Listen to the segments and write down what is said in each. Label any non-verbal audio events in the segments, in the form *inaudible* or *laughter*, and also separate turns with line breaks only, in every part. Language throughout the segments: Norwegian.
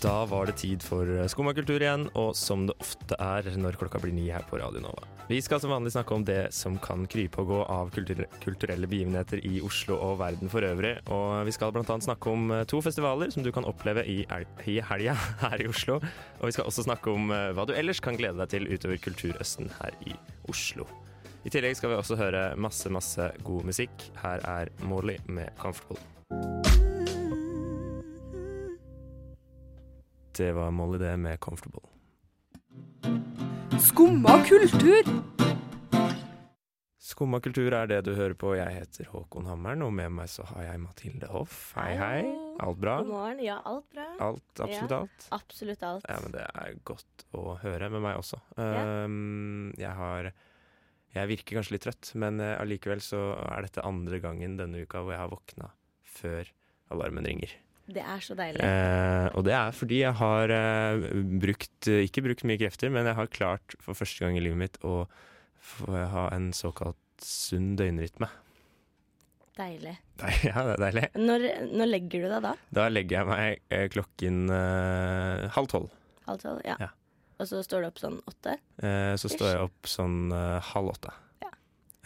Da var det tid for eh, Skumma kultur igjen, og som det ofte er når klokka blir ni her på Radio Nova. Vi skal som vanlig snakke om det som kan krype og gå av kultur kulturelle begivenheter i Oslo og verden for øvrig. Og vi skal bl.a. snakke om eh, to festivaler som du kan oppleve i, el- i helga *laughs* her i Oslo. Og vi skal også snakke om eh, hva du ellers kan glede deg til utover Kulturøsten her i Oslo. I tillegg skal vi også høre masse, masse god musikk. Her er Morley med 'Comfortable'. Det var Molly det med 'Comfortable'.
Skumma kultur.
Skumma kultur er det du hører på. Jeg heter Håkon Hammeren, og med meg så har jeg Mathilde Hoff. Hei, hei.
Hallo.
Alt bra?
God morgen. Ja, alt bra.
Alt, absolutt
Ja.
alt.
Absolutt alt.
Ja, men det er godt å høre med meg også.
Ja.
Um, jeg har Jeg virker kanskje litt trøtt, men eh, allikevel så er dette andre gangen denne uka hvor jeg har våkna før alarmen ringer.
Det er så deilig.
Eh, og det er fordi jeg har eh, brukt Ikke brukt mye krefter, men jeg har klart for første gang i livet mitt å få ha en såkalt sunn døgnrytme.
Deilig.
Nei, *laughs* Ja, det er deilig.
Når, når legger du deg da?
Da legger jeg meg eh, klokken eh, halv tolv.
Halv tolv? Altså, Ja.
Ja.
Og så står du opp sånn åtte?
Eh, så står jeg opp sånn eh, halv åtte.
Ja.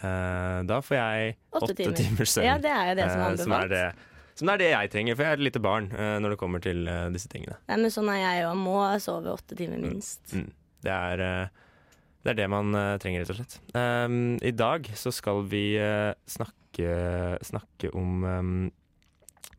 Eh, da får jeg
Åtte
åtte
timer.
timers søvn.
Ja, det er jo det
eh,
som er
som, er
anbefalt.
det, som er det jeg trenger, for jeg er et lite barn eh, når det kommer til eh, disse tingene.
Nei, men sånn er jeg jo. Må sove åtte timer minst.
Mm. Det, er, eh, det er det man eh, trenger, rett og slett. Um, I dag så skal vi eh, snakke, snakke om um,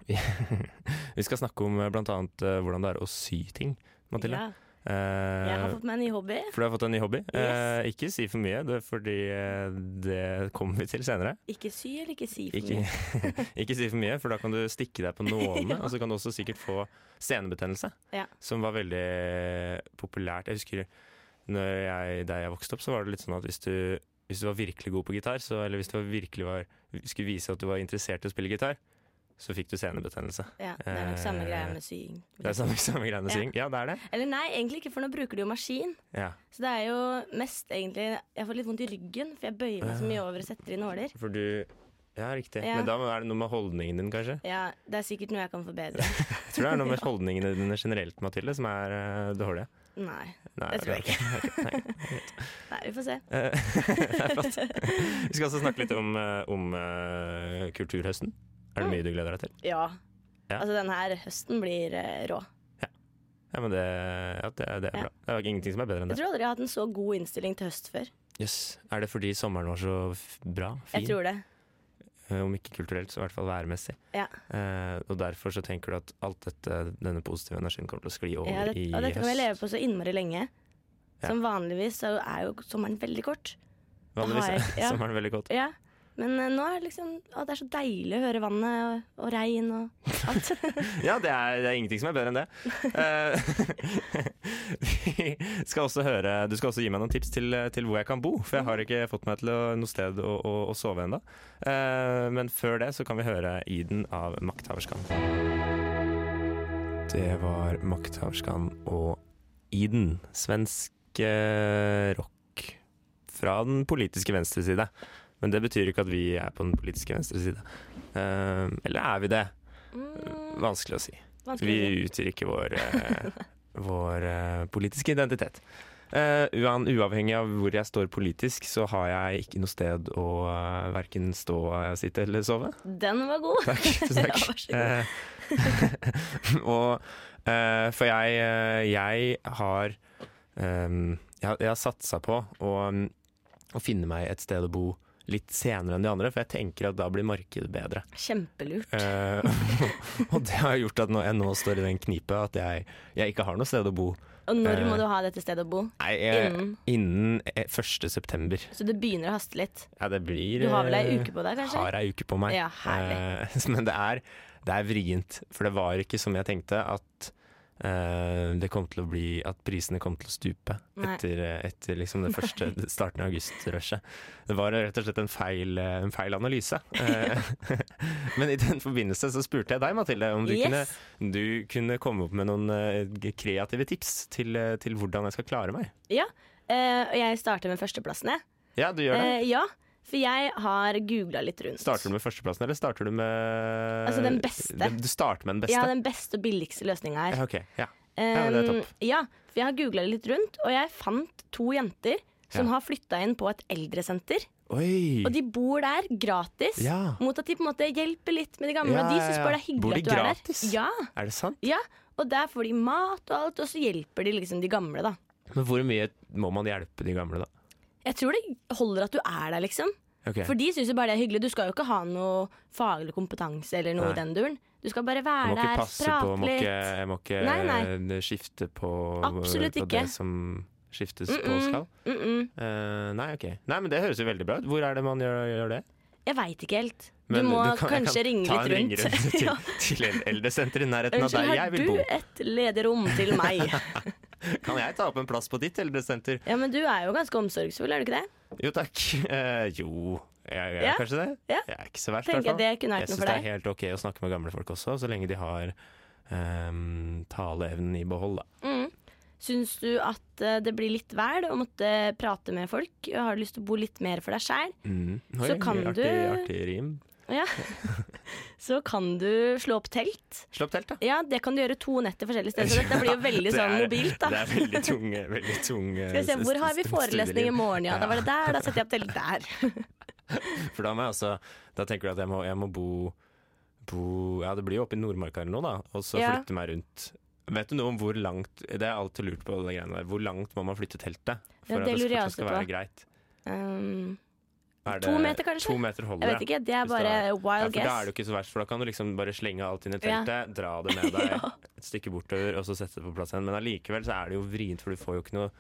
vi, *laughs* vi skal snakke om eh, blant annet eh, hvordan det er å sy ting, Mathilde.
Ja.
Eh,
Jeg har fått meg en ny hobby.
For du har fått en ny hobby.
Yes.
Eh, ikke si for mye, det, fordi eh, det kommer vi til senere.
Ikke sy eller ikke si for
Ikke,
mye.
*laughs* ikke si for mye, for da kan du stikke
*laughs*
deg på nålene. Og så kan du også sikkert få senebetennelse,
Ja.
som var veldig populært. Jeg husker når jeg, da jeg vokste opp, så var det litt sånn at hvis du, hvis du var virkelig god på gitar, så, eller hvis du var virkelig var, skulle vise at du var interessert i å spille gitar, så fikk du senebetennelse.
Ja, det er nok samme
Eh,
greia med sying.
Det er samme, samme greie med
Ja.
syng. Ja, det er det.
Eller nei, egentlig ikke, for nå bruker du jo maskin.
Ja.
Så det er jo mest egentlig Jeg får litt vondt i ryggen, for jeg bøyer meg så mye over og setter i nåler.
For du Ja, riktig.
Ja.
Men da må- er det noe med holdningen din, kanskje?
Ja, det er sikkert noe jeg kan forbedre.
*laughs* Jeg tror det er noe med
*laughs*
holdningene dine generelt, Mathilde, som er eh, dårlige.
Nei.
Nei,
Det tror jeg
det er ok. Nei.
Nei, vi får se.
Eh, *laughs* det er flott. Vi *laughs* skal også snakke litt om, eh, om eh, kulturhøsten. Er det
Mm.
mye du gleder deg til?
Ja.
Ja.
Altså, den her høsten blir eh, rå.
Ja, men det, ja, det, det er
Ja.
bra. Det er jo ingenting som er bedre enn
Jeg
det.
tror aldri jeg har hatt en så god innstilling til høst før.
Jøss. Er det fordi sommeren var så f bra? Fin?
Jeg tror det.
Eh, Om ikke kulturelt, så i hvert fall værmessig.
Ja.
Eh, og derfor så tenker du at alt dette, denne positive energien kommer til å skli over
Jeg, det
i
og dette kan vi leve
høst.
på så innmari lenge.
Ja.
Som vanligvis så er jo sommeren veldig kort.
Vanligvis
har jeg-
er
ja.
*laughs* sommeren veldig godt.
Ja. Men eh, nå er det liksom Å, det er så deilig å høre vannet og, og regn og alt.
*laughs* Ja, det er, det er ingenting som er bedre enn det. Eh, *laughs* vi skal også høre, du skal også gi meg noen tips til, til hvor jeg kan bo, for jeg har ikke fått meg til å, noe sted å, å, å sove ennå. men før det så kan vi høre Iden av Makthaverskan. Det var Makthaverskan og Iden, svensk eh, rock fra den politiske venstreside. Men det betyr ikke at vi er på den politiske venstreside. Uh, eller er vi det?
Mm,
Vanskelig å si.
vanskelig. å si.
Vi utgir ikke vår,
*laughs*
eh, vår eh, politiske identitet. Eh, uan, uavhengig av hvor jeg står politisk, så har jeg ikke noe sted å uh, verken stå, eh, sitte eller sove.
Den var god.
Takk. Tusen takk.
*laughs* Ja, vær så
Eh,
god.
*laughs* og eh, For jeg, eh, jeg har ehm, Jeg har, jeg har satsa på å, mm, å finne meg et sted å bo litt senere enn de andre, for jeg tenker at da blir markedet bedre.
Kjempelurt.
Eh, *laughs* og det har gjort at nå, jeg nå står i den knipa at jeg, jeg ikke har noe sted å bo.
Og når
eh,
må du ha dette stedet å bo?
Nei, jeg,
Innen.
innen eh, 1. september.
Så det begynner å haste litt.
Ja, det blir
Du har vel ei
eh,
uke på deg, kanskje?
Har ei uke på meg.
Ja, herlig.
*laughs* Eh, men det er, det er vrient, for det var ikke som jeg tenkte at eh, det kom til å bli at prisene kom til å stupe
Nei.
etter, etter liksom
*laughs*
det første starten av august-rushet. Det var rett og slett en feil, eh, en feil analyse. Eh, *laughs* Men i den forbindelse så spurte jeg deg, Mathilde, om du,
Yes.
kunne, du kunne komme opp med noen eh, kreative tips til, eh, til hvordan jeg skal klare meg.
Ja, eh, og jeg starter med førsteplassen, jeg.
Ja, du gjør det.
Eh, ja, for jeg har googla litt rundt.
Starter du med førsteplassen, eller starter du med
Altså, den beste.
Den- Du starter med den beste?
Ja, den beste og billigste løsninga her.
Ja, ok, ja. Ja, det er
Um,
topp.
ja, for jeg har googla litt rundt, og jeg fant to jenter som
Ja.
har flytta inn på et eldresenter.
Oi!
Og de bor der gratis,
Ja.
mot at de på en måte hjelper litt med de gamle.
Ja,
og de
ja,
syns
ja.
bare det er hyggelig
Bor de
at du er
gratis?
der. Ja,
Er det sant?
ja, Og der får de mat og alt, og så hjelper de liksom de gamle, da.
Men hvor mye må man hjelpe de gamle, da?
Jeg tror det holder at du er der, liksom.
Ok.
For de syns jo bare det er hyggelig. Du skal jo ikke ha noe faglig kompetanse eller noe
Nei.
i den duren. Du skal bare
jeg
være
må ikke
der,
passe på,
prate
jeg må
litt.
ikke, jeg må ikke
Nei,
eh, skifte på,
Absolutt
på
ikke.
det som skiftes på
Mm-mm.
skal.
Mm -mm.
Eh, nei, ok. Nei, men det høres jo veldig bra ut. Hvor er det man gjør, gjør det?
Jeg veit ikke helt.
Men
du må
kan- jeg
kanskje
kan
ringe
ta en
litt rundt. *laughs*
ringerunde til,
Ja.
til el- eldresenteret i nærheten av
Unnskyld,
der jeg
har
vil bo.
du et ledig rom til meg?
*laughs* Kan jeg ta opp en plass på ditt eldresenter?
Ja, men du er jo ganske omsorgsfull, er du ikke det?
Jo takk. *laughs* Eh, jo, jeg gjør
Ja.
kanskje det.
Ja.
Jeg er ikke så verst, i
Tenker
hvert fall.
jeg det kunne
Jeg
vært noe
syns
for
det er
deg.
helt ok å snakke med gamle folk også, så lenge de har ehm, taleevnen i behold, da.
Syns Mm. du at eh, det blir litt vel å måtte prate med folk? Har du lyst til å bo litt mer for deg sjæl?
Mm. Oi,
Så kan
artig,
du-
Artig rim.
Ja. Så kan du slå opp telt.
Slå opp telt, da.
Ja, det kan du gjøre to netter forskjellige steder. Så
*laughs*
dette blir jo veldig
Det
sånn
er-
mobilt, da.
*laughs* Det er veldig tunge, veldig eh, tunge
*laughs* Skal vi se, Hvor har vi forelesning i morgen? Ja, da var det der. Da setter jeg opp telt der.
For da, må jeg også, da tenker du at jeg må, jeg må bo, bo Ja, det blir jo oppe i Nordmarka eller noe, da. Og så
Ja.
flytte meg rundt. Vet du noe om hvor langt Det er alltid lurt på det greiene der. Hvor langt må man flytte teltet
Ja,
for
det
at det
lurer jeg
fortsatt skal
også
være
på.
greit?
Um,
Er
To meter, kanskje?
To meter holder,
jeg vet ikke. Det er bare
Ja, for da er
wild
det
guess.
jo ikke så verst, for da kan du liksom bare slenge alt inn i
Ja.
teltet, dra det
*laughs*
med deg
Ja.
et stykke bortover, og så sette det på plass igjen. Men allikevel så er det jo vrient, for du får jo ikke noe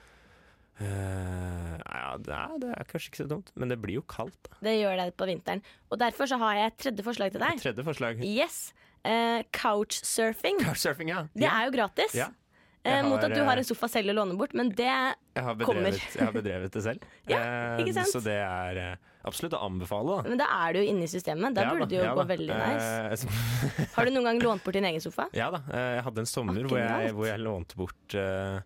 eh, ja, det er, det er kanskje ikke så dumt, men det blir jo kaldt. Da.
Det gjør det på vinteren. Og derfor så har jeg et tredje forslag til deg.
Tredje forslag.
Yes. Eh, couchsurfing.
Couchsurfing, ja.
Det
Ja.
er jo gratis.
Ja.
Eh,
Jeg
mot
har,
at du har
eh,
en sofa selv å låne bort, men det
Jeg har
kommer.
bedrevet, jeg har bedrevet det selv.
*laughs* Ja, ikke
Eh,
sant?
Så det er eh, absolutt å anbefale, da.
men da er du jo inne i systemet. Da
Ja
burde det jo
ja
gå veldig nice.
Eh, så-
Har du noen gang lånt bort din egen sofa?
ja da. eh, Jeg hadde en sommer
Akkurat.
hvor jeg, hvor jeg lånte bort eh,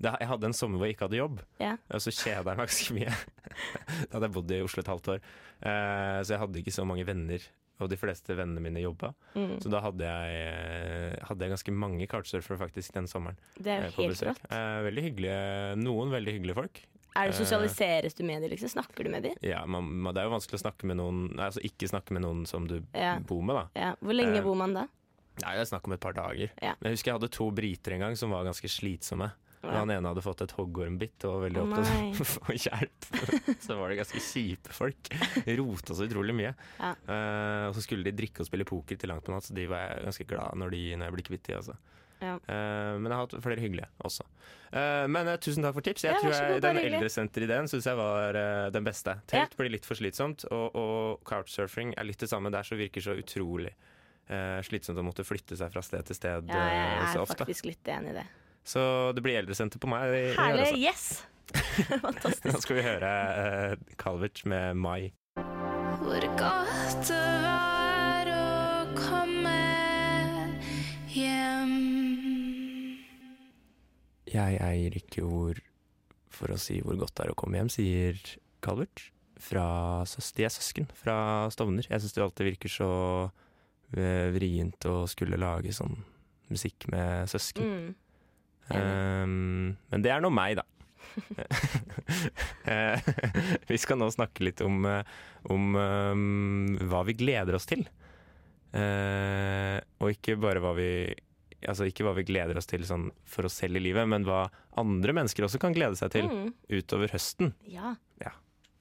det, Jeg hadde en sommer hvor jeg ikke hadde jobb,
Ja.
og så kjeda jeg meg ganske mye. *laughs* Da hadde jeg bodd i Oslo et halvt år, eh, så jeg hadde ikke så mange venner. Og de fleste vennene mine jobba,
Mm.
så da hadde jeg, eh, hadde jeg ganske mange couchsurfere faktisk den sommeren.
Det er
eh,
jo
på
helt
besøk.
rått.
Eh, Veldig hyggelige, noen veldig hyggelige folk.
Er
Eh,
det Sosialiseres du med dem, liksom? Snakker du med dem?
Ja, man, man, det er jo vanskelig å snakke med noen Nei, altså ikke snakke med noen som du
Ja.
bor med, da.
Ja. Hvor lenge
Eh,
bor man da?
Nei, det er snakk om et par dager.
Ja.
Men jeg husker jeg hadde to briter en gang som var ganske slitsomme. Og
Ja.
Han ene hadde fått et hoggormbitt og var veldig
Å, nei.
opptatt av *laughs* å få hjelp. så var det ganske kjipe folk. Rota så utrolig mye.
Ja.
Eh, og så skulle de drikke og spille poker til langt på natt, så de var jeg ganske glad når, de, når jeg ble kvitt de. Altså.
Ja.
Eh, men jeg har hatt flere hyggelige også. Eh, men eh, tusen takk for tips. Jeg
Ja,
tror
vær så god,
jeg,
bare
Den
hyggelig.
eldresenterideen syns jeg var eh, den beste. Telt blir litt for slitsomt, og, og couchsurfing er litt det samme der, så virker så utrolig eh, slitsomt å måtte flytte seg fra sted til sted
Ja, jeg
eh, så
er
ofte.
faktisk litt enig i det.
Så det blir eldresenter på meg. i- i år, altså.
Herlig. Yes! *laughs*
*laughs*
Fantastisk.
Nå skal vi høre eh, Calvert med Mai.
Hvor godt det var å komme hjem.
Jeg eier ikke ord for å si hvor godt det er å komme hjem, sier Calvert. Fra søs de er søsken fra Stovner. Jeg syns det alltid virker så eh, vrient å skulle lage sånn musikk med søsken.
Mm.
Ehm, men det er nå meg, da. Eh, *laughs* vi skal nå snakke litt om, eh, om eh, hva vi gleder oss til. Eh, og ikke bare hva vi Altså ikke hva vi gleder oss til sånn for oss selv i livet, men hva andre mennesker også kan glede seg til
Mm.
utover høsten.
Ja.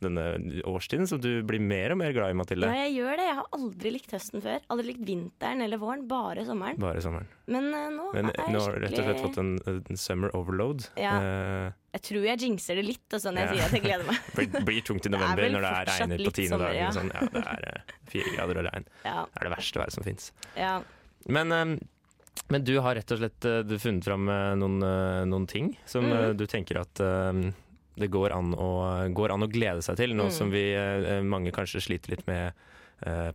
Denne årstiden som du blir mer og mer glad i, Mathilde.
ja, jeg gjør det. Jeg har aldri likt høsten før. Aldri likt vinteren eller våren, bare sommeren.
Bare sommeren.
Men eh, nå
Men
er jeg
nå har du rett og slett
skikkelig-
fått en, en summer overload.
Ja.
Eh,
Jeg tror jeg jinxer det litt og sånn jeg
Ja.
sier at jeg gleder
*laughs*
meg.
blir, blir tungt i
Det er
november
vel
når det er
fortsatt
regner på
litt
tiende
sommer,
dagen.
ja.
og Sånn. Ja, det er eh, fire grader og regn.
Ja,
Det er det verste været som fins.
ja,
Men eh, Men du har rett og slett eh, du funnet fram eh, noen, eh, noen ting som eh,
Mm.
du tenker at eh, det går an, å, går an å glede seg til,
Mm.
nå som vi eh, mange kanskje sliter litt med eh,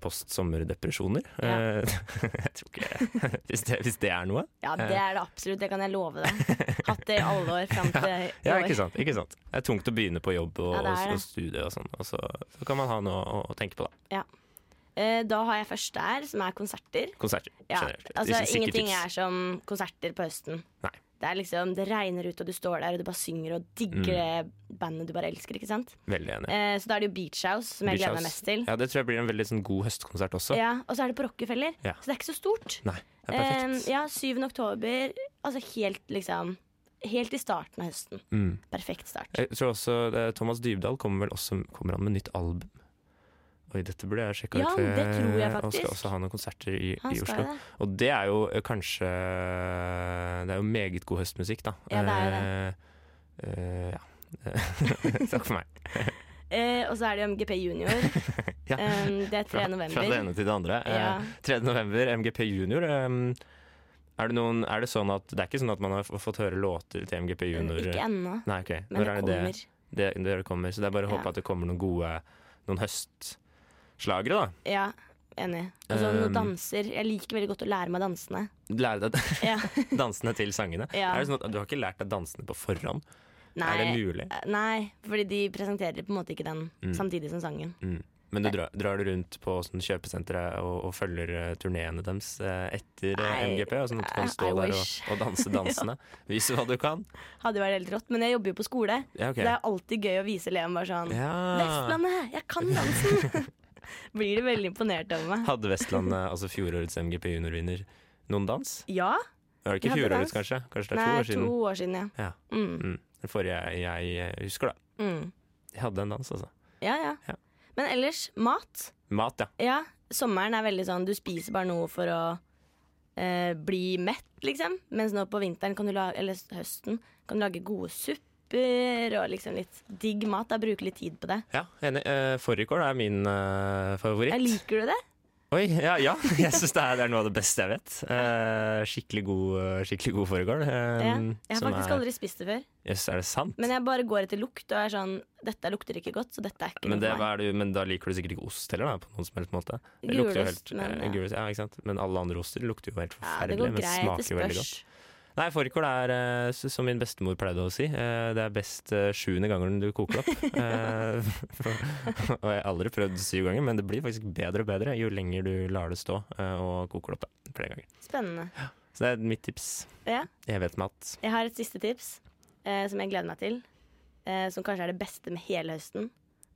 post-sommerdepresjoner.
Ja.
Eh, *laughs* jeg tror ikke hvis det, hvis det er noe.
Ja, det er det absolutt, det kan jeg love deg. Hatt det i alle år fram til i
*laughs* Ja,
år.
ikke sant, ikke sant. Det er tungt å begynne på jobb og,
Ja, det er
og,
det.
og studie og sånn, og så, så kan man ha noe å, å tenke på, da.
Eh, Da har jeg først der, som er konserter.
Konserter
Ja,
generelt.
altså
Ikke- ikke
Ingenting
tips.
er som konserter på høsten.
Nei.
Det er liksom, det regner ut, og du står der og du bare synger og
Mm.
digger det bandet du bare elsker. ikke sant?
Veldig enig.
Eh, så da er det jo Beach House som jeg
Beach
gleder meg
House.
mest til.
Ja, det tror jeg blir en veldig sånn, god høstkonsert også.
Ja, og så er det på Rockefeller,
Ja.
så det er ikke så stort.
Nei, det er perfekt.
Eh, ja, 7. oktober, altså helt liksom Helt i starten av høsten.
Mm.
Perfekt start.
Jeg tror også eh, Thomas Dybdahl kommer vel også kommer han med nytt album. Oi, dette burde jeg sjekka
Ja,
ut. før
det tror jeg
Og skal
faktisk.
også ha noen konserter i,
Han
i
skal
Oslo.
det.
Og det er jo eh, kanskje eh, Det er jo meget god høstmusikk, da.
Ja, det
Eh, eh, ja. *laughs* Takk for meg.
Eh, og så er det jo MGP Junior.
*laughs* Ja.
Eh, det er 3.
Fra,
november.
fra det ene til det andre. Eh,
Ja.
3. november, MGP Junior. eh, er det, noen, er det, sånn at, det er ikke sånn at man har f- fått høre låter til MGP Junior?
Mm, Ikke ennå,
Nei, ok.
men
Når
det
er det det?
kommer.
det, det det kommer. Så det er bare å håpe
Ja.
at det kommer noen gode noen høstslagere, da.
Ja, enig. Og så noen
Um,
danser. Jeg liker veldig godt å lære meg
*laughs*
dansene.
Lære deg
Ja.
dansene til sangene.
Ja.
Er det sånn at Du har ikke lært deg dansene på forhånd?
Nei, Eh,
Er det mulig?
Nei, fordi de presenterer på en måte ikke den
Mm.
samtidig som sangen.
Mm. Men du drar, drar du rundt på sånn kjøpesentre og, og følger eh, turneene deres eh, etter eh,
Nei,
MGP? og Sånn at du
I-
kan stå
I
der og,
wish.
og
*laughs*
danse dansene? Vise hva du kan?
Hadde jo vært helt rått, men jeg jobber jo på skole.
Ja, ok.
Det er alltid gøy å vise Leon bare sånn
Ja.
Vestlandet, jeg kan dansen! *laughs* Blir de veldig imponert over meg.
Hadde Vestlandet, altså fjorårets MGP juniorvinner, noen dans?
Ja?
Er det ikke
Vi hadde
fjorårets,
dans.
kanskje? Kanskje det er
Nei,
to år siden?
to år siden, ja.
Ja.
Mm,
Mm. Den forrige jeg eh, husker, da.
mm.
Jeg hadde en dans, altså.
ja, ja.
Ja.
Men ellers, mat.
Mat, ja.
Ja, sommeren er veldig sånn Du spiser bare noe for å eh, bli mett, liksom. Mens nå på vinteren, kan du lage, eller høsten, kan du lage gode supper og liksom litt digg mat. Da bruker litt tid på det.
Ja, enig. Uh, Fårikål er min eh, favoritt.
Ja, liker du det?
Oi, ja, ja. *laughs* jeg syns det, er- det er noe av det beste jeg vet. Eh, skikkelig god, skikkelig god fårikål. eh,
Ja. Jeg har
som
faktisk
er,
aldri spist det før.
Jøss, er det sant? Men,
Men jeg bare går etter lukt og er sånn Dette lukter ikke godt, så dette er
det,
ikke noe for meg.
hva er det, men da liker du sikkert ikke ost heller, da, på noen som helst måte. Det
Gulost,
lukter jo helt,
men,
eh,
ja.
gulost, ja, ikke sant? men alle andre oster lukter jo helt
Ja, det
forferdelig,
går
men
greit, det
smaker jo veldig
spørs.
godt. Nei, fårikål er, eh, s- som min bestemor pleide å si, eh, det er best eh, sjuende gangen du koker
*laughs*
opp. Eh, *laughs* og jeg har aldri prøvd syv ganger, men det blir faktisk bedre og bedre jo lenger du lar det stå eh, og koker det opp eh, flere ganger.
Spennende.
Så det er mitt tips.
Ja.
Jeg vet mat.
Jeg har et siste tips eh, som jeg gleder meg til. Eh, som kanskje er det beste med hele høsten.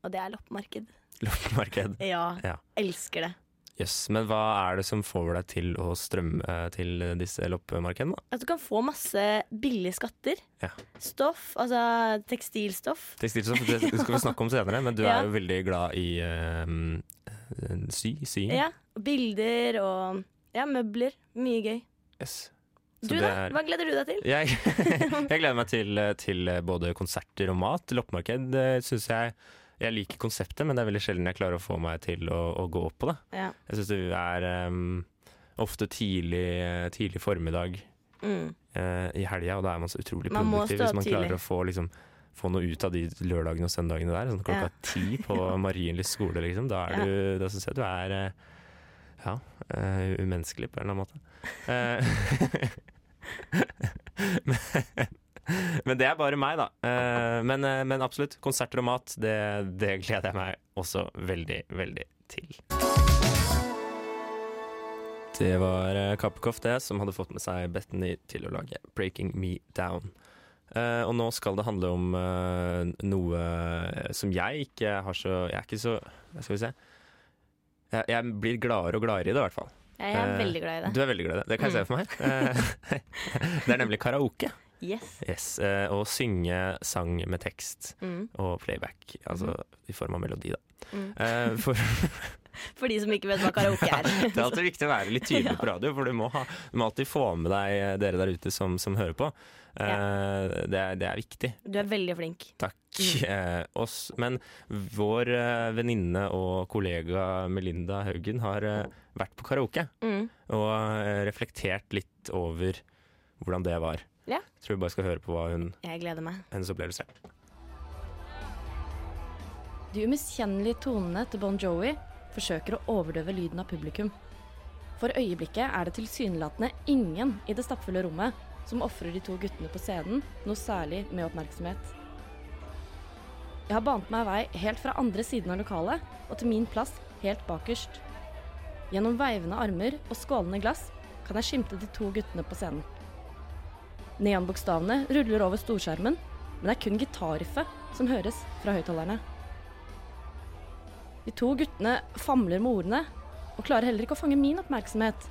Og det er loppemarked.
Loppemarked.
Ja,
Ja.
elsker det.
Jøss. Men hva er det som får deg til å strømme eh, til disse loppemarkedene? da?
At Altså, du kan få masse billige skatter.
Ja.
Stoff, altså tekstilstoff.
Tekstilstoff det skal vi snakke om senere, men du
Ja.
er jo veldig glad i eh, sy, sying.
Ja, og bilder og ja, møbler. Mye gøy.
Yes. Så
Du
det
da?
er-
Hva gleder du deg til?
Jeg,
*laughs*
jeg gleder meg til, til både konserter og mat. Loppemarked eh, synes jeg Jeg liker konseptet, men det er veldig sjelden jeg klarer å få meg til å, å gå opp på det.
Ja.
Jeg syns det er em, ofte tidlig, tidlig formiddag
Mm.
eh, i helga, og da er man så utrolig
Man må
produktiv
stå
hvis man
tidlig.
klarer å få, liksom, få noe ut av de lørdagene og søndagene der. Sånn klokka
Ja.
ti
*laughs*
på Marienlyst skole, liksom. Da, er
Ja.
du- da syns jeg du er eh, ja, eh, umenneskelig på en eller annen måte. Eh, *laughs* men, men det er bare meg, da. Eh, men, eh, men absolutt, konserter og mat, det, det gleder jeg meg også veldig, veldig til. Det var eh, Kappekoff, det, som hadde fått med seg Bethany til å lage 'Breaking Me Down'. Eh, og nå skal det handle om eh, noe som jeg ikke har så Jeg er ikke så Hva skal vi se. Jeg, jeg blir gladere og gladere i det, i hvert fall.
Jeg er
Eh,
veldig glad i det.
Du er veldig glad i det. Det kan jeg se for meg. Eh, *laughs* det er nemlig karaoke.
Yes.
Yes, eh, Å synge sang med tekst
Mm.
og playback. Altså i form av melodi, da.
Mm.
Eh, for
For de som ikke vet hva karaoke
*laughs*
er.
Det er alltid viktig å være litt tydelig på radio, for du må, ha, du må alltid få med deg eh, dere der ute som, som hører på. Eh, det, er, det er viktig.
Du er veldig flink.
Takk.
Mm.
Eh, oss. Men vår eh, venninne og kollega Melinda Haugen har eh, vært på karaoke
Mm.
og eh, reflektert litt over hvordan det var.
Ja.
Jeg tror vi bare skal høre på hva hun,
Jeg gleder meg.
hennes opplevelse er.
De umiskjennelige tonene til Bon Jovi forsøker å overdøve lyden av publikum. For øyeblikket er det tilsynelatende ingen i det stappfulle rommet som ofrer de to guttene på scenen noe særlig med oppmerksomhet. Jeg har bant meg vei helt fra andre siden av lokalet og til min plass helt bakerst. Gjennom veivende armer og skålende glass kan jeg skimte de to guttene på scenen. Neonbokstavene ruller over storskjermen, men det er kun gitarriffet som høres fra høyttalerne. De to guttene famler med ordene og klarer heller ikke å fange min oppmerksomhet.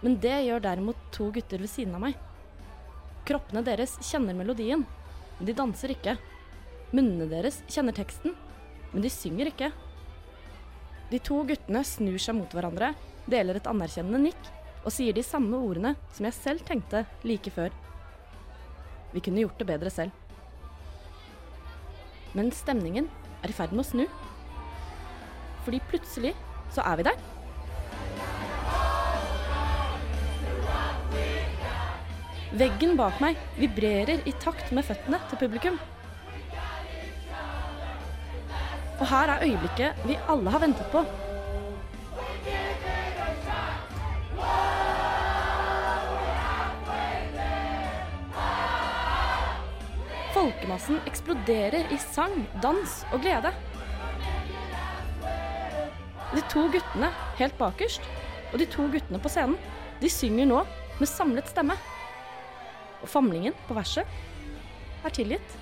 Men det gjør derimot to gutter ved siden av meg. Kroppene deres kjenner melodien, men de danser ikke. Munnene deres kjenner teksten, men de synger ikke. De to guttene snur seg mot hverandre, deler et anerkjennende nikk og sier de samme ordene som jeg selv tenkte like før. Vi kunne gjort det bedre selv. Men stemningen er i ferd med å snu fordi plutselig så er vi der. Veggen bak meg vibrerer i takt med føttene til publikum. Og her er øyeblikket vi alle har ventet på. Folkemassen eksploderer i sang, dans og glede. De to guttene helt bakerst og de to guttene på scenen, de synger nå med samlet stemme. Og famlingen på verset er tilgitt.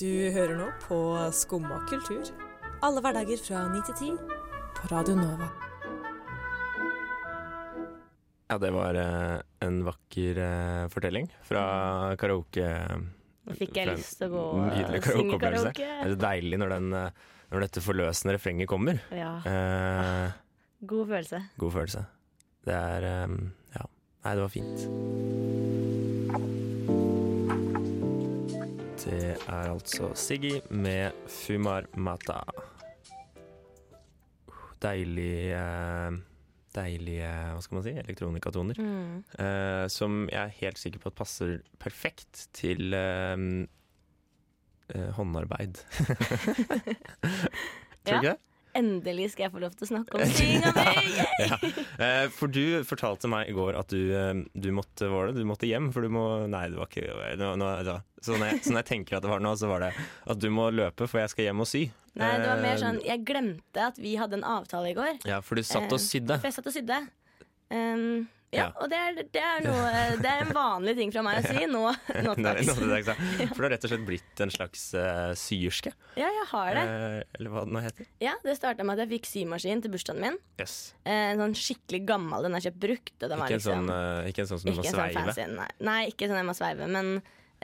Du hører nå på Skumma kultur. Alle hverdager fra 9 til 10 på Radio Nova.
Ja, det var eh, en vakker eh, fortelling fra karaoke.
Nå fikk jeg
fra en
lyst til å gå og
nydelig
synge
karaokeopplevelse.
karaoke.
Det er så deilig når, den, eh, når dette forløsende refrenget kommer.
Ja,
Eh,
God følelse.
god følelse. Det er eh, Ja. Nei, det var fint. Det er altså Siggy med Fumar Mata. Deilig eh, Deilige, hva skal man si, elektronikatoner.
Mm.
Eh, som jeg er helt sikker på at passer perfekt til eh, eh, håndarbeid. *laughs* Tror du ikke det?
Endelig skal jeg få lov til å snakke om
*laughs*
tinga mi!
Ja. Eh, for du fortalte meg i går at du, eh, du måtte hva var det, du måtte hjem, for du må Nei, det var ikke nå, nå, da. Så når jeg, så når jeg tenker at det var nå, så var det at du må løpe, for jeg skal hjem og sy.
Nei, det var
Eh,
mer sånn Jeg glemte at vi hadde en avtale i går.
Ja, for du satt
Eh,
og sydde. *laughs*
For jeg satt og sydde. Um, ja,
Ja.
og det er, det, er noe, det er en vanlig ting fra meg å si.
*laughs*
Nå, nå
Nå-
takk.
nå til dags, ja.
*laughs*
For du har rett og slett blitt en slags eh, syerske.
Ja, jeg har det.
Eh, eller hva det nå heter.
Ja, Det starta med at jeg fikk symaskin til bursdagen min.
Yes.
Eh, En sånn skikkelig gammel, den er kjøpt brukt. Og den var
Ikke en,
liksom,
sånn, eh, ikke en sånn som du må
ikke en sånn
sveive.
fancy nei. nei, ikke sånn jeg må sveive, men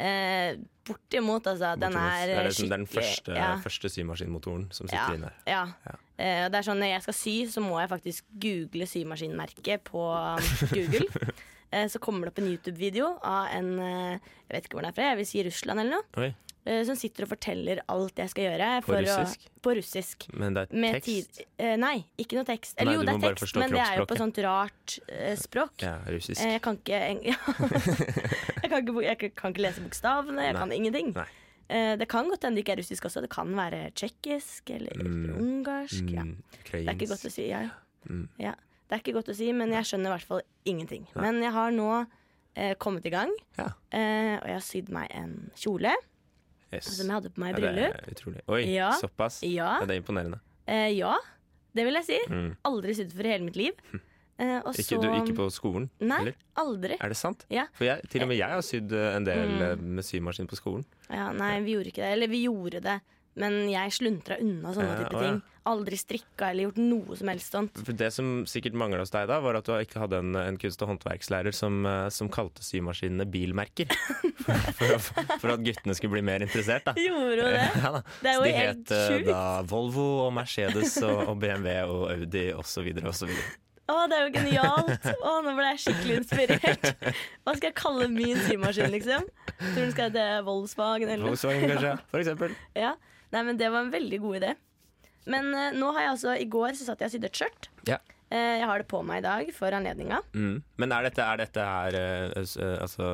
eh, bortimot, altså. Den
Bortimot.
er
det er, liksom,
eh,
det som- det er den første,
ja.
første symaskinmotoren som sitter
Ja,
inne her.
ja. Eh, og det er sånn, Når jeg skal sy, så må jeg faktisk google symaskinmerket på
*laughs*
um, Google. Eh, så kommer det opp en YouTube-video av en eh, jeg vet ikke hvor den er fra, jeg vil si Russland eller noe,
Oi,
eh, som sitter og forteller alt jeg skal gjøre.
På russisk?
Å, på russisk.
men det er
Med
tekst.
tid, eh, nei, ikke noe tekst.
Nei, du
Eller jo, det
må
er
bare
tekst,
forstå
men det er jo på
kroppsspråket.
sånt rart eh, språk.
Ja, russisk.
Eh, Jeg kan ikke eng- *laughs* ja. jeg, kan ikke, bo- jeg kan ikke lese bokstavene, jeg
Nei.
kan ingenting.
Nei.
Eh, Det kan godt hende det ikke er russisk også. Det kan være tsjekkisk eller
Mm.
ungarsk. Ja.
Mm,
Det er ikke
ukrainsk.
godt å si. Ja.
Mm.
Ja. Det er ikke godt å si, men jeg skjønner i hvert fall ingenting. Men jeg har nå eh, kommet i gang,
Ja.
eh, og jeg har sydd meg en kjole
Yes.
som jeg hadde på meg
Ja,
i
det
bryllup.
er utrolig. Oi,
Ja.
såpass.
Ja,
Ja, det er imponerende.
eh, ja, det vil jeg si.
Mm. Hm.
Aldri sydd for i hele mitt liv. Eh, og
Ikke,
så
du, ikke på skolen,
Nei,
eller?
aldri.
Er det sant?
Ja. Mm.
For jeg, til og med jeg har sydd eh, en del eh, med symaskin på skolen.
Ja, nei, vi gjorde ikke det. Eller vi gjorde det, Men jeg sluntra unna sånne
Ja,
type
å, ja.
ting. Aldri strikka eller gjort noe som helst sånt.
For det som sikkert mangla hos deg da, var at du ikke hadde en, en kunst- og håndverkslærer som, eh, som kalte symaskinene bilmerker. *laughs* For, for, for at guttene skulle bli mer interessert, da.
Gjorde hun
*laughs*
det?
Ja, da.
Det er
Så
jo
de
helt
het eh,
sjukt.
da Volvo og Mercedes og, og BMW og Audi osv. osv.
Å, det er jo genialt! Å, nå ble jeg skikkelig inspirert. Hva skal jeg kalle min symaskin, liksom? Tror du den skal hete Volkswagen eller noe?
Volkswagen, kanskje, for eksempel.
*laughs* Ja. Nei, men det var en veldig god idé. Men eh, nå har jeg altså I går så satt jeg og sydde et skjørt.
Ja.
Eh, jeg har det på meg i dag for anledninga.
Mm. Men er dette, er dette her eh, s- eh, Altså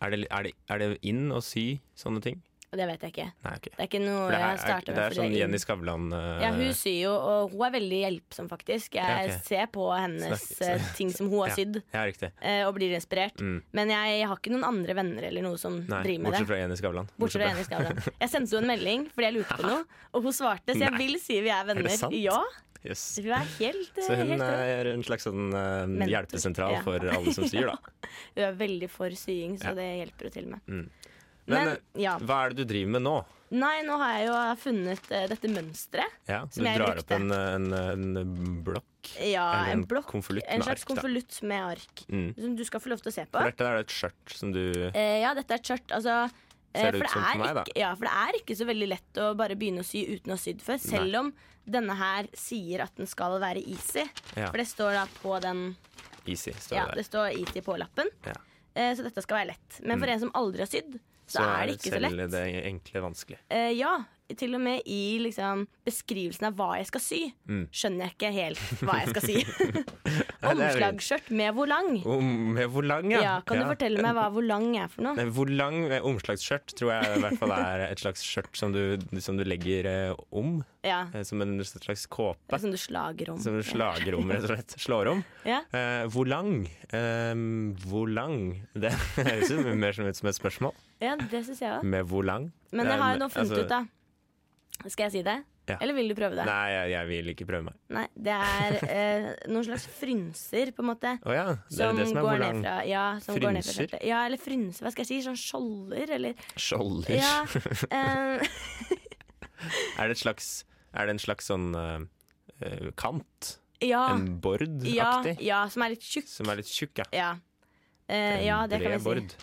er det, er, det, er det inn å sy sånne ting?
Og det vet jeg ikke.
Nei, ok.
Det er ikke noe
For det, her
jeg
er,
starta
det
med.
er
fordi
sånn
jeg-
Jenny Skavlan eh,
Ja, hun syr jo, og hun er veldig hjelpsom, faktisk. Jeg
Ja, ok.
ser på hennes
Snakk-
eh, ting som hun har
*laughs* Ja.
sydd,
Ja, riktig.
eh, og blir inspirert.
Mm.
Men jeg har ikke noen andre venner eller noe som
Nei,
driver med
bortsett
det.
fra Jenny Skavlan.
Bortsett fra Jenny Skavlan. Jeg sendte henne en melding fordi jeg
*laughs*
lurte på noe, og hun svarte, så jeg
Nei.
vil si vi er venner.
sant?
ja,
Yes.
så vi er helt, eh,
Så hun
helt rå.
er en slags sånn eh,
Mentor.
hjelpesentral
Ja.
for alle som syr, da.
Hun er veldig for sying, så
Ja.
det hjelper hun til med.
Mm. Men, eh,
Men, *laughs* ja.
Hva er det du driver med nå?
Nei, nå har jeg jo funnet eh, dette mønsteret.
Ja, du
Som jeg
drar
brukte. Eh,
opp en, en, en blokk.
Ja,
Eller en
en blokk.
konvolutt
En
med
slags
ark, da.
konvolutt med ark.
Mm.
Som du skal få lov til å se på.
For dette er det et skjørt som du
Eh, ja, dette er et skjørt. Altså, eh,
Ser det
for
ut som for
er
meg, da?
Ikke, ja, for det er ikke så veldig lett å bare begynne å sy uten å ha sydd før. Selv
Nei.
om denne her sier at den skal være easy.
Ja.
For det står da på den
Easy, står
Ja,
det
det står easy på lappen.
der. Ja.
Eh, så dette skal være lett. Men for en som aldri har sydd, så, er det ikke så
selv
lett.
det enkle vanskelig.
Eh, ja, til og med i liksom, beskrivelsen av hva jeg skal sy,
Mm.
skjønner jeg ikke helt
*laughs*
hva jeg skal sy.
Nei, det er jo-
Omslagsskjørt med hvor lang.
Om- med hvor lang, ja.
Ja, kan du fortelle meg hva hvor lang er for noe?
Nei, hvor lang eh, omslagsskjørt tror jeg i hvert fall er et slags skjørt som du, som du legger eh, om.
Ja,
eh, Som en slags kåpe.
Som sånn du slager om.
Som du slager om, rett og slett. Slår om.
Ja.
Eh, hvor lang? Ehm, hvor lang? Det høres ut som- mer som ut som et spørsmål.
Ja, det syns jeg òg.
Med hvor lang?
Men jeg har jo
Eh,
nå funnet
altså,
ut, da. Skal jeg si det?
Ja.
Eller vil du prøve det?
Nei, jeg, jeg vil ikke prøve meg.
Nei, det er
*laughs*
eh, noen slags frynser, på en måte.
Å ja, det er
Som,
det som er
går
hvor
ned
lang?
fra, ja, som går ned fra
Frynser?
skjørtet. Ja, eller frynser, hva skal jeg si? Sånn skjolder, eller
Skjolder. *laughs*
Ja. eh,
Er det, et slags, er det en slags sånn eh, eh, kant?
ja,
En
Ah. ja,
bord-aktig?
ja, som er litt tjukk.
Som er litt tjukk, ja.
Ja. Eh,
En
ja, det kan
bred
vi si.
bord.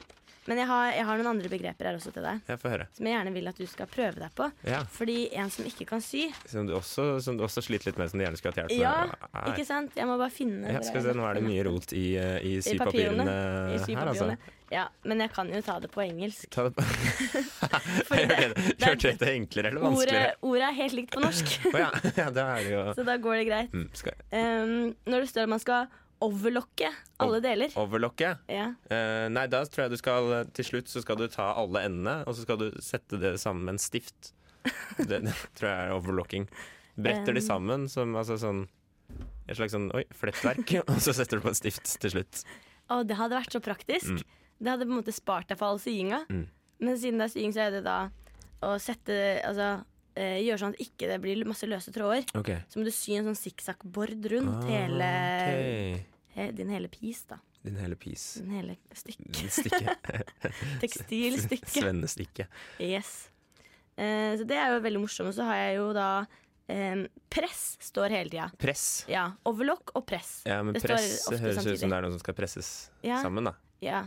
Men jeg har, jeg har noen andre begreper her også til deg,
Jeg får høre.
som jeg gjerne vil at du skal prøve deg på.
Ja,
Fordi en som ikke kan sy
som du, også, som du også sliter litt med, som du gjerne skulle hatt hjelp med.
Ja,
Nei.
Ikke sant? Jeg må bare finne
Ja,
hvor
skal vi
jeg-
se, nå er det mye rot i, eh, i sypapirene
I
her, altså.
sypapirene. Ja, men jeg kan jo ta det på engelsk.
Ta det
*laughs*
på. *laughs*
Fordi det, det er-
Hørte dette enklere eller vanskeligere?
ordet, ordet er helt likt på
*laughs*
norsk,
Å ja. ja, da er det jo
så da går det greit.
mm, Skal jeg
Um, når det står at man skal overlocke alle deler
overlocke?
ja.
Eh, nei, da tror jeg du skal Til slutt så skal du ta alle endene, og så skal du sette det sammen med en stift. Det, det tror jeg er overlocking. Bretter de sammen som altså sånn et slags sånn oi, flettverk, *laughs* og så setter du på en stift til slutt.
Å, det hadde vært så praktisk.
Mm.
Det hadde på en måte spart deg for all syinga. Men siden det er sying, så er det da å sette Altså eh, gjøre sånn at ikke det blir masse løse tråder.
Ok.
Så må du sy en sånn sikksakk-bord
Ah,
rundt hele, he, din hele pis, da.
Din hele pis.
Din hele stykk.
Din
*laughs*
stikke. *laughs*
Tekstilstykke.
Svennestikke.
Yes. Eh, så det er jo veldig morsomt. Og så har jeg jo da eh, Press står hele tida.
Press.
Ja, Overlock og press.
Ja, men
Det står
press
ofte
høres ut som
samtidig.
det er noe som skal presses
Ja.
sammen, da.
Ja.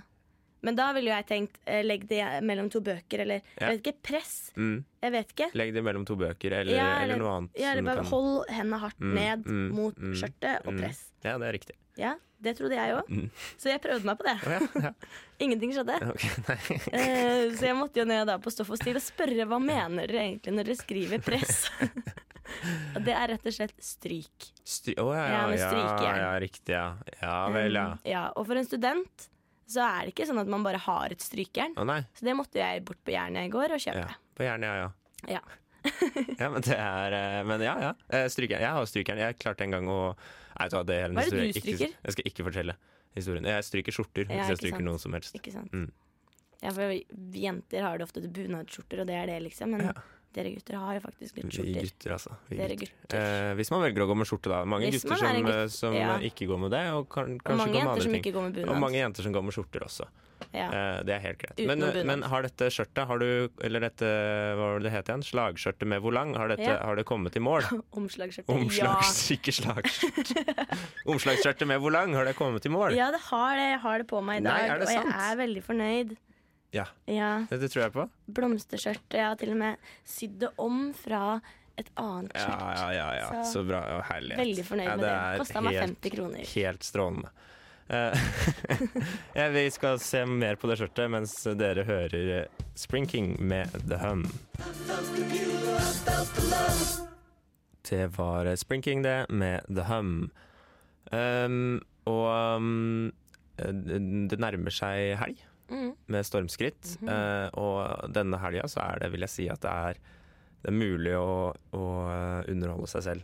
Men da ville jo jeg tenkt eh, legg det mellom to bøker, eller
Ja.
jeg vet ikke. Press.
Mm.
Jeg vet ikke.
Legg det mellom to bøker, eller,
Ja,
eller,
eller-
noe annet.
Ja, eller
som du
bare
kan-
hold henda hardt
Mm,
ned
mm,
mot
mm,
skjørtet og
mm.
press.
Ja, det er riktig.
Ja, det trodde jeg òg.
Mm.
Så jeg prøvde meg på det.
Å ja, ja. *laughs*
Ingenting skjedde.
Ok, nei.
Eh, så jeg måtte jo ned da på Stoff og Stil og spørre hva mener dere egentlig når dere skriver press. *laughs* og det er rett og slett stryk.
Stry å, ja, ja,
Ja, med
ja,
strykejern.
ja, riktig, ja. Ja vel, ja.
Um, ja, og for en student så er det ikke sånn at man bare har et strykjern.
Å nei.
Så det måtte jeg bort på Jernia i går og
Ja.
kjøpe.
På hjernen, ja, ja.
Ja.
*laughs* Ja, men det er eh, Men ja, ja. Eh, Strykejern. Jeg har strykejern. Jeg klarte en gang å Nei, vet du hva, det er en
Hva er det
historie.
du
Ikke-
stryker?
Jeg skal ikke fortelle historien. Jeg stryker skjorter,
Ja,
hvis jeg
ikke
stryker
sant.
noe som helst.
Ikke sant?
Mm.
Ja, for jenter har det ofte til bunadsskjorter, og det er det, liksom. Men
Ja.
Dere gutter har jo faktisk litt
Vi
skjorter.
gutter, altså. Vi
Dere
gutter.
gutter.
Eh, hvis man velger å gå med skjorte, da. Mange
Hvis
gutter
man
som,
er en
eh,
gutt,
som
ja.
eh, ikke går med det, og kan,
Og
kanskje går med
mange jenter som
andre ting.
ikke går med bunad.
Og mange jenter som går med skjorter også.
ja.
Eh, det er helt greit.
Uten
Men,
noe
eh,
bunad.
men har dette skjørtet, har du, eller dette hva var det det het igjen, slagskjørtet med volang, har, dette,
Ja.
har det kommet i
*laughs*
mål?
Omslagsskjorter.
Omslags, ikke
*laughs*
slagskjørt. Omslagsskjørtet med volang, har det kommet i
Ja.
mål?
ja, det har det. Jeg har det på meg i
Nei,
dag,
er det
og
sant?
jeg er veldig fornøyd.
Ja.
Ja.
Dette tror jeg på.
Blomsterskjørtet. Jeg har til og med sydd det om fra et annet
Ja,
skjørt.
ja, ja. ja. Så,
Så-
bra. og Herlighet.
Veldig fornøyd
ja,
med det.
er
Kosta meg
helt-
50 kroner.
Helt strålende. Eh, *laughs* ja, vi skal se mer på det skjørtet mens dere hører eh, Sprinking med The Hum. Det var eh, Sprinking, det, med The Hum. Um, og um, eh, det nærmer seg helg
Mm. Mhm.
med stormskritt. eh, og denne helga så er det, vil jeg si, at det er, det er mulig å, å eh, underholde seg selv.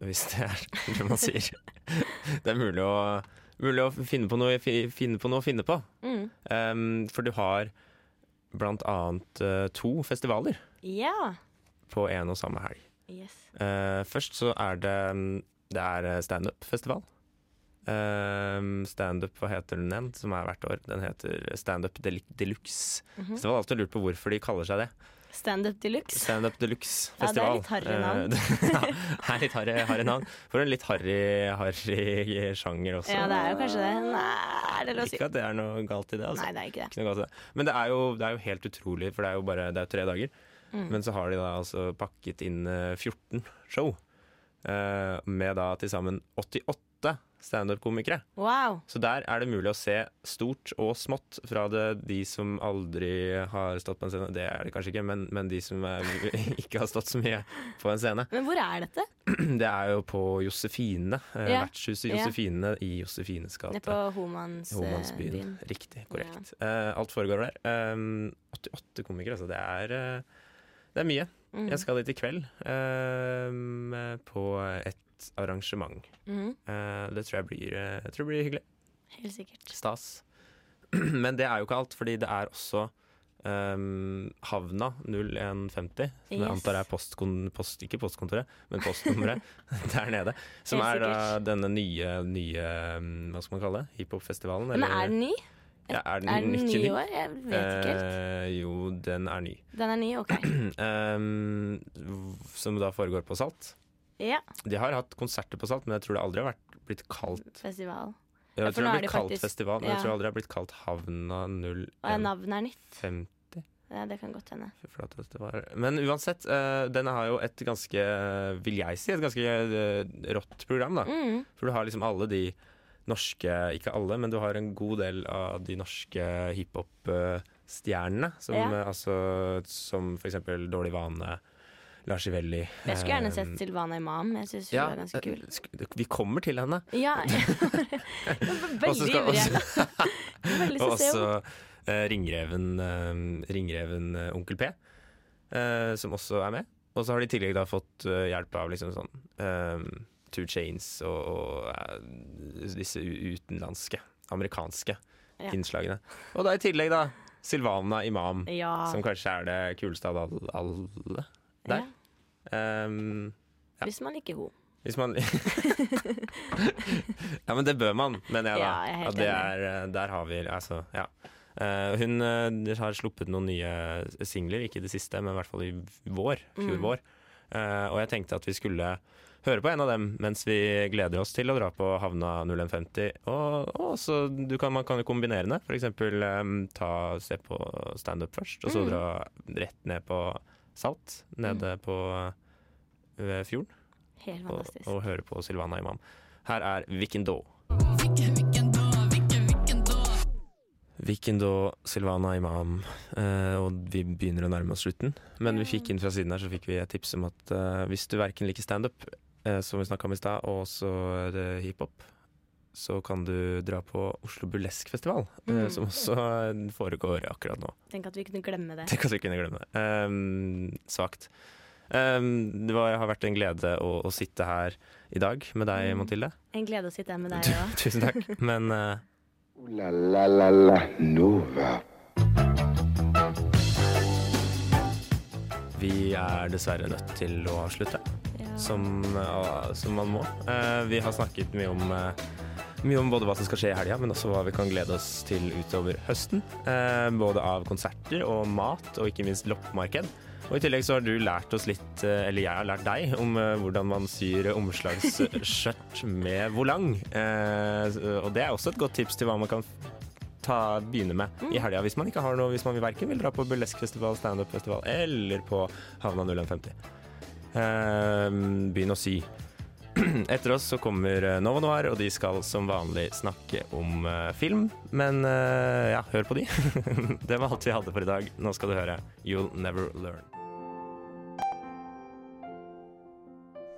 Hvis det er *laughs* det man sier. det er mulig å, mulig å finne på noe fi- finne på. Noe, å finne på.
Mm.
Em, for du har blant annet eh, to festivaler
Ja.
på en og samme helg.
Yes.
Eh, først så er det mm, Det er eh, standup-festival. Um, standup, hva heter den igjen, som er hvert år? Den heter Standup Del- Deluxe.
Mhm.
Så jeg har alltid lurt på hvorfor de kaller seg det.
Standup de luxe.
Standup Deluxe
Ja, det er
Festival.
litt harry navn.
Eh, ja, *laughs* det er litt harry, harry navn. For en litt harry, harry sjanger også.
Ja, det er jo kanskje det. Nei, er det lov å si?
Ikke at det er noe galt i det, altså.
Nei, det er ikke det.
Ikke noe galt i det. Men det er, jo, det er jo helt utrolig, for det er jo bare det er jo tre dager.
Mm.
Men så har de da altså pakket inn eh, 14 show, eh, med da til sammen 88 standup-komikere.
Wow.
Så der er det mulig å se stort og smått fra det. De som aldri har stått på en scene, det er det kanskje ikke, men, men de som er, *laughs* ikke har stått så mye på en scene. *clears throat*
Men hvor er dette?
Det er jo på Josefine, eh,
Ja.
vertshuset
Ja.
Josefine i Josefines
Nede
gate.
på eh, Homansbyen.
Homansbyen. Riktig, korrekt. Eh, alt foregår der. Um, 88 komikere, altså. Det er, eh, det er mye.
Mm.
Jeg skal dit i kveld, um, eh, på et arrangement.
Mhm.
Eh, det tror jeg blir, eh, jeg tror det blir hyggelig.
Helt sikkert.
Stas. *clears throat* Men det er jo ikke alt, fordi det er også ehm, Havna 0150, som jeg
Yes.
antar er postkon post, ikke postkontoret, men
*laughs*
postnummeret *laughs* der nede. Som
Helt
er da
sikkert.
denne nye, nye ehm, hva skal man kalle det, hiphopfestivalen?
Men er den ny?
ja, er den,
Er den
ikke
ny i år? Jeg vet ikke helt.
Eh, jo, den er ny.
Den er ny, OK.
*clears throat* Ehm, som da foregår på Salt.
Ja,
De har hatt konserter på Salt, men jeg tror det aldri har vært, blitt kalt
festival.
Jeg
Ja, for
tror det
nå
har
er
blitt
det
kalt
faktisk-
festival, men jeg
ja.
tror aldri det har blitt kalt Havna
Og ja,
0150.
navnet er nytt. Ja, det kan godt hende.
Fy flate, dette var Men uansett, eh, den har jo et ganske, eh, vil jeg si, et ganske eh, rått program, da.
Mm.
For du har liksom alle de norske, ikke alle, men du har en god del av de norske hiphop-stjernene. Som,
Ja.
eh, altså, som for eksempel Dårlig vane, Lars Ivelli.
Jeg skulle gjerne
eh,
sett Silvana Imam. Jeg syns hun
ja,
var ganske
eh,
kul.
sk- Vi kommer til henne.
Ja,
*laughs*
*laughs* jeg var veldig ivrig. *laughs* Jeg har veldig lyst
Og
til å se
også
henne.
eh, Ringreven, eh, ringreven eh, Onkel P, eh, som også er med. Og så har de i tillegg da fått eh, hjelp av liksom sånn eh, Two Chains og, og eh, disse u- utenlandske, amerikanske
Ja.
innslagene. Og da i tillegg da Silvana Imam,
Ja.
som kanskje er det kuleste av all- alle. der.
ja.
Ehm, ja.
Hvis man liker henne.
hvis man *laughs* Ja, men det bør man, mener jeg da.
Ja, jeg er helt
At det
enig.
er, eh, der har vi Altså, ja. Eh, hun eh, har sluppet noen nye singler, ikke i det siste, men i hvert fall i vår.
Mm.
Fjor vår. Eh, og jeg tenkte at vi skulle høre på en av dem mens vi gleder oss til å dra på Havna 0150. Og, og så du kan, man kan jo kombinere det. For eksempel eh, ta, se på standup først, og
Mm.
så dra rett ned på Salt, nede på eh, ved fjorden
Helt
og,
fantastisk.
og høre på Silvana Imam. Her er Hvilken da? Hvilken da, Silvana Imam. Eh, og vi begynner å nærme oss slutten. Men vi fikk inn fra siden her så fikk vi et tips om at eh, hvis du verken liker standup, eh, som vi snakka om i stad, og også eh, hiphop, så kan du dra på Oslo Burleskfestival, eh,
Mm.
som også eh, foregår akkurat nå.
Tenk at vi kunne glemme det.
Tenk at vi kunne glemme *laughs* det. Ehm, svakt. Ehm, det var, har vært en glede å, å sitte her i dag med deg, Mathilde.
En glede å sitte her med deg òg.
Tusen takk. Men eh,
Ooh la la la la Nova.
Vi er dessverre nødt til å avslutte,
Ja.
som, ja, som man må. Eh, Vi har snakket mye om, eh, mye om både hva som skal skje i helga, men også hva vi kan glede oss til utover høsten. Eh, Både av konserter og mat, og ikke minst loppemarked. Og I tillegg så har du lært oss litt, eh, eller jeg har lært deg, om eh, hvordan man syr eh, omslagsskjørt *laughs* med volang. Eh, Og det er også et godt tips til hva man kan ta, begynne med i helga hvis man ikke har noe, hvis man verken vil dra på burleskfestival, standup-festival eller på Havna 0150. Ehm, begynn å sy. *clears throat* Etter oss så kommer eh, Nova Noir, og de skal som vanlig snakke om eh, film. Men eh, ja, hør på de. *laughs* det var alt vi hadde for i dag. Nå skal du høre You'll Never Learn.